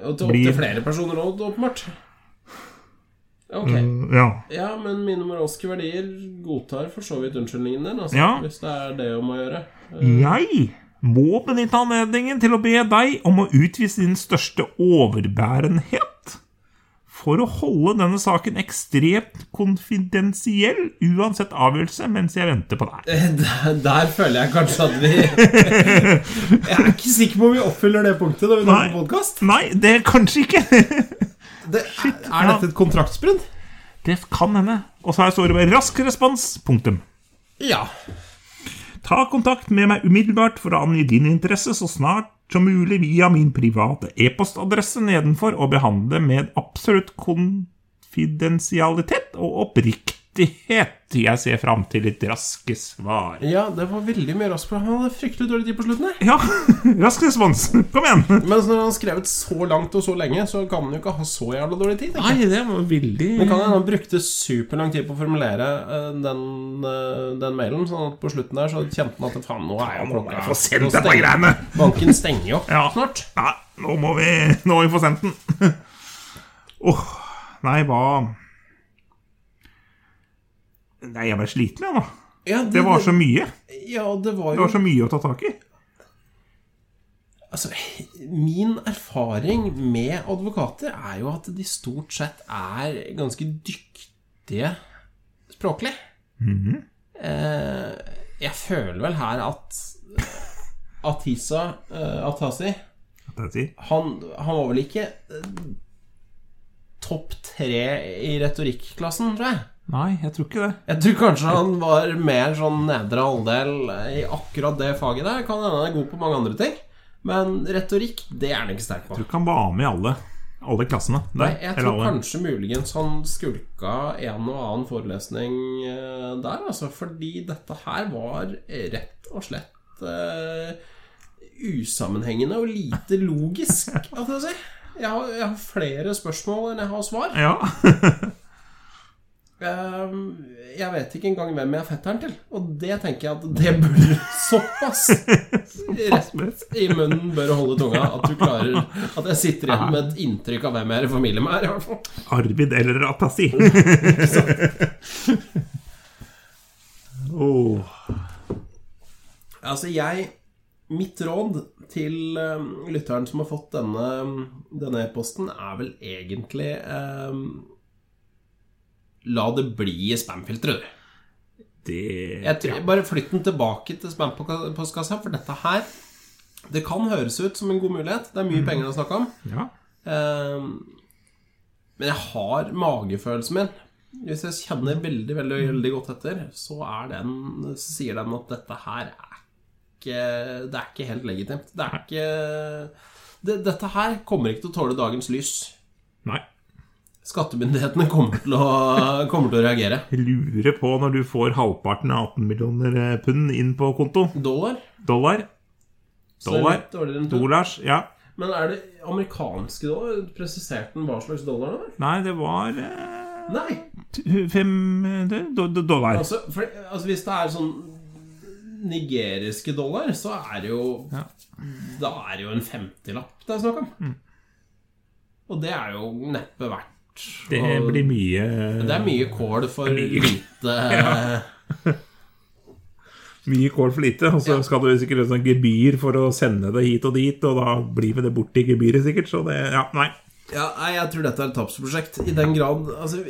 Og til Blir- opptil flere personer òg, åpenbart. Ok. Mm, Ja. Ja, men mine moralske verdier godtar for så vidt unnskyldningen din, altså. Ja. Hvis det er det om å gjøre. <laughs> Jeg må benytte anledningen til å be deg om å utvise din største overbærenhet for å holde denne saken ekstremt konfidensiell uansett avgjørelse mens jeg venter på deg. Eh, Der, der føler jeg kanskje at vi Jeg <laughs> er ikke sikker på om vi oppfyller det punktet når vi Nei. tar på podkast. Nei, det kanskje ikke. <laughs> Det, er, er ja. dette et kontraktsbrudd? Det kan hende. Og så her står det bare 'rask respons'. Punktum. Ja. Ta kontakt med meg umiddelbart for å angi din interesse så snart som mulig via min private e-postadresse nedenfor og behandle med absolutt konfidensialitet og oppriktighet. Jeg ser fram til litt raske svar. Ja, det var veldig mye raskt. for Han hadde fryktelig dårlig tid på slutten her. Ja, <laughs> rask respons. Kom igjen. Men når han har skrevet så langt og så lenge, så kan han jo ikke ha så jævla dårlig tid. tenker jeg. det var veldig Men kan hende han brukte superlang tid på å formulere eh, den, eh, den mailen, sånn at på slutten der så kjente han at faen, nå er jo Nå må klokka jeg få sendt nå dette stenger- greiene. Banken stenger <laughs> jo Ja. snart. Nei, nå må vi, nå må vi få sendt den. <laughs> Åh, nei, hva Nei, jeg ble sliten, jeg, nå. Ja, det, Det var så mye. Ja, det var Det jo var så mye å ta tak i. Altså, min erfaring med advokater er jo at de stort sett er ganske dyktige språklig. Mhm. Eh, jeg føler vel her at Atisa eh, Atasi Det er tid. han, han var vel ikke eh, topp tre i retorikklassen, tror jeg. Nei, jeg tror ikke det. Jeg tror kanskje han var mer sånn nedre halvdel eh, i akkurat det faget der. Kan hende han er god på mange andre ting. Men retorikk, det er han ikke sterk på. Du kan være med i alle, alle klassene. Der, Nei, jeg eller tror alle. kanskje muligens han skulka en og annen forelesning eh, der, altså. Fordi dette her var rett og slett eh, usammenhengende og lite <laughs> logisk, kan jeg si. Jeg har, jeg har flere spørsmål enn jeg har svar. Ja. <laughs> Eh, Jeg vet ikke engang hvem jeg er fetteren til, og det tenker jeg at det <laughs> burde såpass rett i munnen bør holde tunga at du <laughs> klarer At jeg sitter igjen med et inntrykk av hvem jeg er i familie med her, i hvert fall. Arvid eller <laughs> Atassi. <laughs> Åh. Altså, jeg Mitt råd til eh, lytteren som har fått denne Denne e-posten, er vel egentlig eh, La det bli i spamfilteret, du. Det Jeg tror, Bare flytt den tilbake til spampostkassa, for dette her Det kan høres ut som en god mulighet. Det er mye penger å snakke om. Ja. Eh, men jeg har magefølelsen min. Hvis jeg kjenner veldig veldig, veldig godt etter, så er den, så sier den at dette her er ikke Det er ikke helt legitimt. Det er ikke det, Dette her kommer ikke til å tåle dagens lys. Nei. Skattemyndighetene kommer til å, kommer til å reagere. Jeg lurer på når du får halvparten av 18 millioner eh, pund inn på konto. Dollar? Dollar. Så det er Dollar. litt dårligere enn to. Dolars. Ja. Men er det amerikanske dollar? Presiserte den hva slags dollar det var? Nei, det var eh, Nei! t- fem eh, det- do- do- dollar. Altså, for, altså hvis det er sånn nigeriske dollar, så er det jo Ja. Mm. Da er det jo en 50-lapp det er snakk om. Og det er jo neppe verdt Det å- blir mye eh, det er mye kål for Mye. <laughs> lite Mye kål for lite, og så Ja. skal du sikkert ha sånn gebyr for å sende det hit og dit, og da blir vi det borti gebyret sikkert, så det Ja, nei. Ja, nei, jeg tror dette er et tapsprosjekt. I den grad Altså,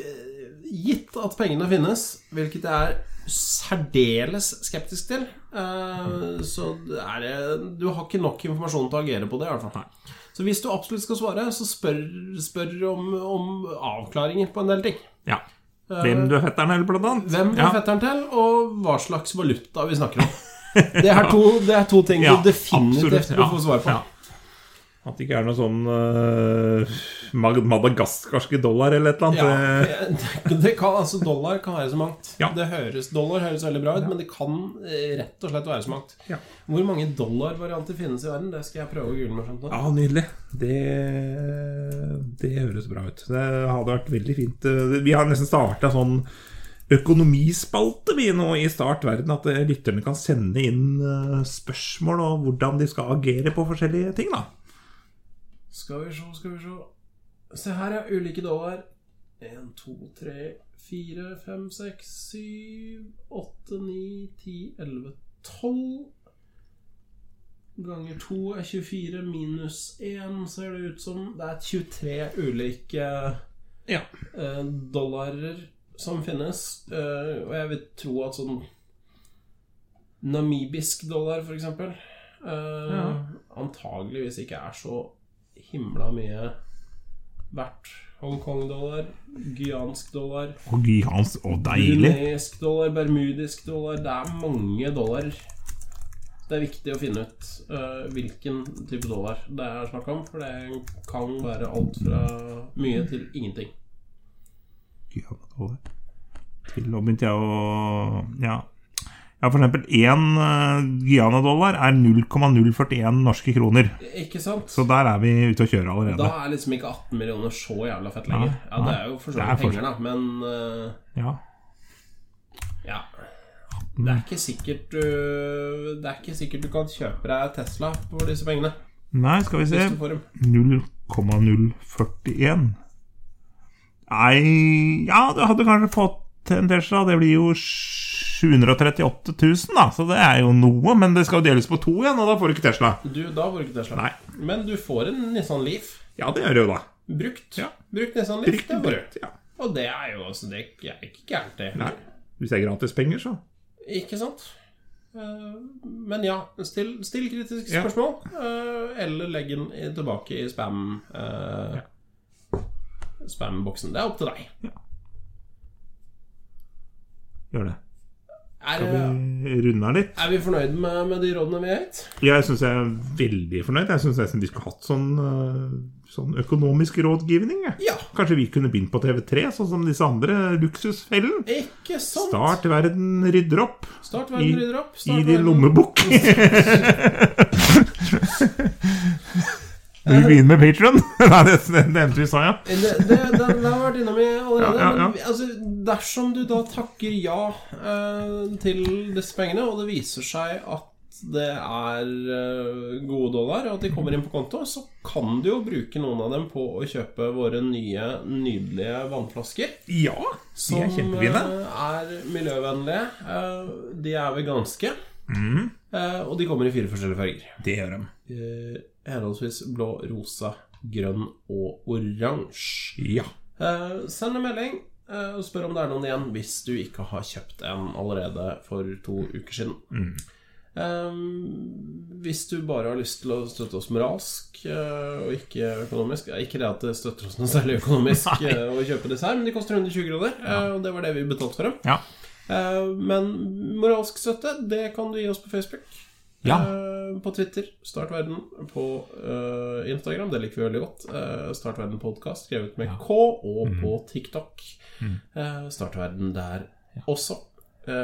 gitt at pengene finnes, hvilket jeg er særdeles skeptisk til, eh, så er det Du har ikke nok informasjon til å agere på det, i hvert fall. Så hvis du absolutt skal svare, så spør, spør om, om avklaringer på en del ting. Ja. Eh, Hvem du er fetteren, eller blant annet? Hvem du ja. er fetteren til, og hva slags valuta vi snakker om. Det er to, det er to ting Ja, du definitivt absolutt, må ja. få svar på. Ja. At det ikke er noe sånn uh, madagaskarske dollar eller et eller Ja, annet. det, det kan, altså Dollar kan være så mangt. eh. Ja. Det høres, dollar høres veldig bra ut, men det kan eh, rett og slett være så mangt. Ja. Hvor mange dollarvarianter finnes i verden? Det skal jeg prøve å google meg frem til. Ja, nydelig. Det, det høres bra ut. Det hadde vært veldig fint. Vi har nesten starta sånn økonomispalte vi nå i Start verden. At eh, lytterne kan sende inn eh, spørsmål og hvordan de skal agere på forskjellige ting. da Skal vi se, skal vi se. Se her, ja. Ulike dollar. 1, 2, 3, 4, 5, 6, 7, 8, 9, 10, 11, 12. Ganger 2 er 24, minus 1 ser det ut som. Det er 23 ulike Ja. eh, dollarer som finnes. Eh, og jeg vil tro at sånn namibisk dollar, for eksempel, eh, Ja. antageligvis ikke er så himla mye verdt. Hongkong-dollar, guyansk dollar, Og Guy Hans, og deilig! bruneisk dollar, bermudisk dollar Det er mange dollar. Det er viktig å finne ut eh, hvilken type dollar det er snakk om, for det kan være alt fra mye til ingenting. Gud, han hadde hår. Til nå begynte jeg å Ja. Ja, for eksempel én Guyana-dollar er 0,041 norske kroner. Ikke sant? Så der er vi ute å kjøre Da allerede. er liksom ikke 18 millioner så jævla fett lenger. Nei, Ja, det nei. er jo for så Det vidt er for- penger, da, men eh, Ja. ja. Det er ikke sikkert du Det er ikke sikkert du kan kjøpe deg Tesla for disse pengene. Nei, skal vi se Hvis du får dem. 0,041. Nei Ja, du hadde kanskje fått en Tesla. Det blir jo 738 000, da. Så det er jo noe. Men det skal jo deles på to igjen, og da får du ikke Tesla. Du, da får du ikke Tesla. Nei. Men du får en Nissan Leaf. Ja, det gjør det jo, da. Brukt. Brukt Nissan Leaf. Riktig det får du. brukt. Ja. Og det er jo altså Det er ikke gærent, det. Nei. Hvis det er gratis penger, så. Ikke sant? Eh, Men ja, still, still kritiske Ja. spørsmål. eh, Eller legg den i- tilbake i spam eh, Spamboksen. Det er opp til deg. Gjør det. Er, Vi eh, runder litt. er vi fornøyd med, med de rådene vi har gitt? Jeg syns jeg er veldig fornøyd. Jeg syns nesten vi skulle hatt sånn, øh, sånn økonomisk rådgivning. jeg. Ja. Kanskje vi kunne begynt på TV3, sånn som disse andre luksusfellen. Ikke sant? Start verden rydder opp Start i- verden rydder opp. Start i din verden- lommebok. <laughs> Vil du begynne med Patron? <laughs> Nei, det det nevnte vi i stad, ja. Det, det, det, det har jeg vært innom i allerede. Ja, ja, ja. Men altså, dersom du da takker ja eh, til disse pengene, og det viser seg at det er eh, gode dollar, og at de kommer inn på konto, så kan du jo bruke noen av dem på å kjøpe våre nye, nydelige vannflasker. Ja, de er Som kjempefine. eh, er miljøvennlige. Eh, de er veganske. Mm. Eh, og de kommer i fire forskjellige farger. Det gjør de. Eh, henholdsvis blå, rosa, grønn og oransje. Ja. Eh, send en melding eh, og spør om det er noen igjen hvis du ikke har kjøpt en allerede for to uker siden. Eh, hvis du bare har lyst til å støtte oss moralsk eh, og ikke økonomisk eh, Ikke det at det støtter oss noe særlig økonomisk eh, å kjøpe disse her, men de koster 120 kroner, eh, og det var det vi betalte for dem. Ja. Eh, men moralsk støtte, det kan du gi oss på Facebook. Ja. Eh, På Twitter, Start Verden. På eh, Instagram, det liker vi veldig godt. Eh, Start Verden podkast, skrevet med K. Og Mhm. på TikTok. Mm. Eh, Start Verden der også. Eh,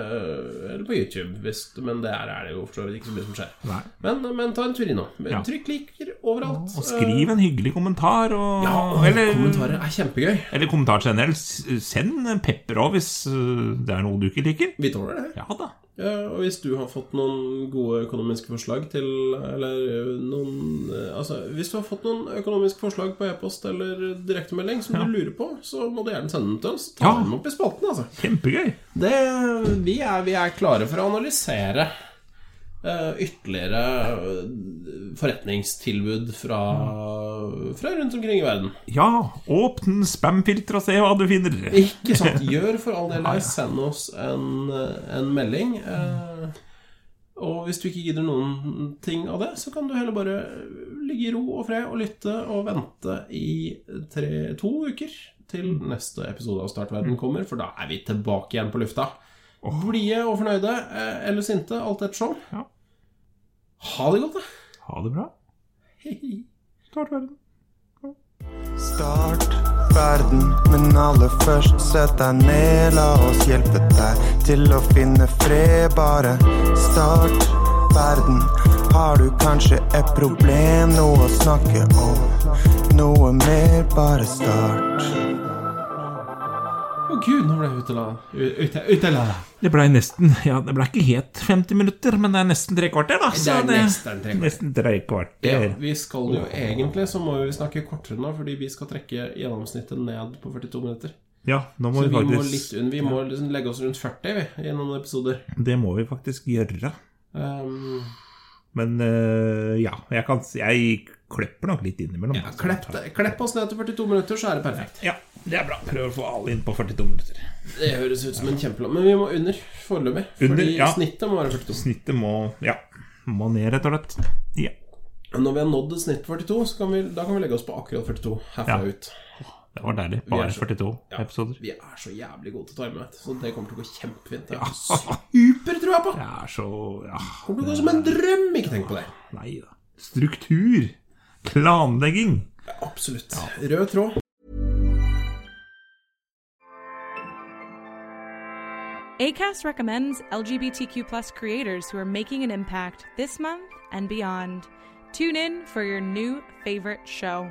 eller på YouTube, hvis, men der er det jo for så vidt ikke så mye som skjer. Nei. Men, men ta en tur innom. Ja. Trykk liker overalt. Og skriv en hyggelig kommentar, og Eh, ja, eller- Kommentarer er kjempegøy. Eller kommentar generelt. S- Send en pepper òg hvis øh, det er noe du ikke liker. Vi tåler det. Ja da. Ja, og hvis du har fått noen gode økonomiske forslag til Eller ø, noen ø, Altså, hvis du har fått noen økonomiske forslag på e-post eller direktemelding som du lurer på, så må du gjerne sende dem til oss. Ta Ja. dem opp i spalten, altså. Kjempegøy. Det, vi, er, vi er klare for å analysere ø, ytterligere ø, forretningstilbud fra, fra rundt omkring i verden. Ja, åpne spamfilter og se hva du finner. Ikke sant. Gjør for all del det. Send oss en, en melding. Eh, og hvis du ikke gidder noen ting av det, så kan du heller bare ligge i ro og fred og lytte og vente i tre, to uker til neste episode av Startverden kommer, for da er vi tilbake igjen på lufta. Blide og fornøyde, eh, eller sinte, alt ettersom. Ja. Ha det godt, da. Ha det bra. Hei, hei. Start verden. Start verden, men aller først sett deg ned. La oss hjelpe deg til å finne fred, bare. Start verden. Har du kanskje et problem, noe å snakke om? Noe mer, bare start. Og gud, nå ble jeg utelada. Utelada. Det blei nesten Ja, det blei ikke helt 50 minutter, men det er nesten tre kvarter, da. Det Så er det, nesten tre kvarter. nesten tre Ja, kvarter. vi skal jo egentlig så må vi snakke kortere nå, fordi vi skal trekke gjennomsnittet ned på 42 minutter. Ja, nå må vi Så vi må, litt faktisk unn, vi må liksom legge oss rundt 40 vi, i noen episoder. Det må vi faktisk gjøre. Um, Men eh, ja, jeg kan si- Jeg klipper nok litt innimellom. ja, klepp, det- klepp oss ned til 42 minutter, så er det perfekt. Ja, det er bra. Prøv å få alle inn på 42 minutter. Det høres ut som en kjempelang Men vi må under foreløpig. Fordi Under, ja. snittet må være 42. Snittet må Ja, må ned, rett og slett. Ja. Og Når vi har nådd et snitt på 42, så kan vi, da kan vi legge oss på akkurat 42 herfra Ja. ut. Det var deilig. Vi er Bare så- 42 Ja, episoder. Vi er så jævlig gode til å time, vet du. Så det kommer til å gå kjempefint. Jeg har Ja. super trua på! Ah. Det er så Ja, Kommer til å gå som en drøm! Ikke tenk på det. nei da. Struktur. Planlegging. Absolutt. Rød tråd. ACAST recommends LGBTQ plus creators who are making an impact this month and beyond. Tune in for your new favorite show.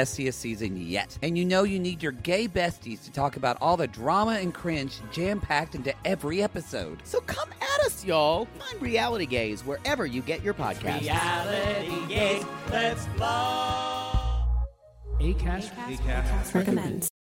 messiest season yet. And you know you need your gay besties to talk about all the drama and cringe jam packed into every episode. So come at us, y'all. Find Reality Gaze wherever you get your podcasts. reality Gaze. Let's blow. recommends.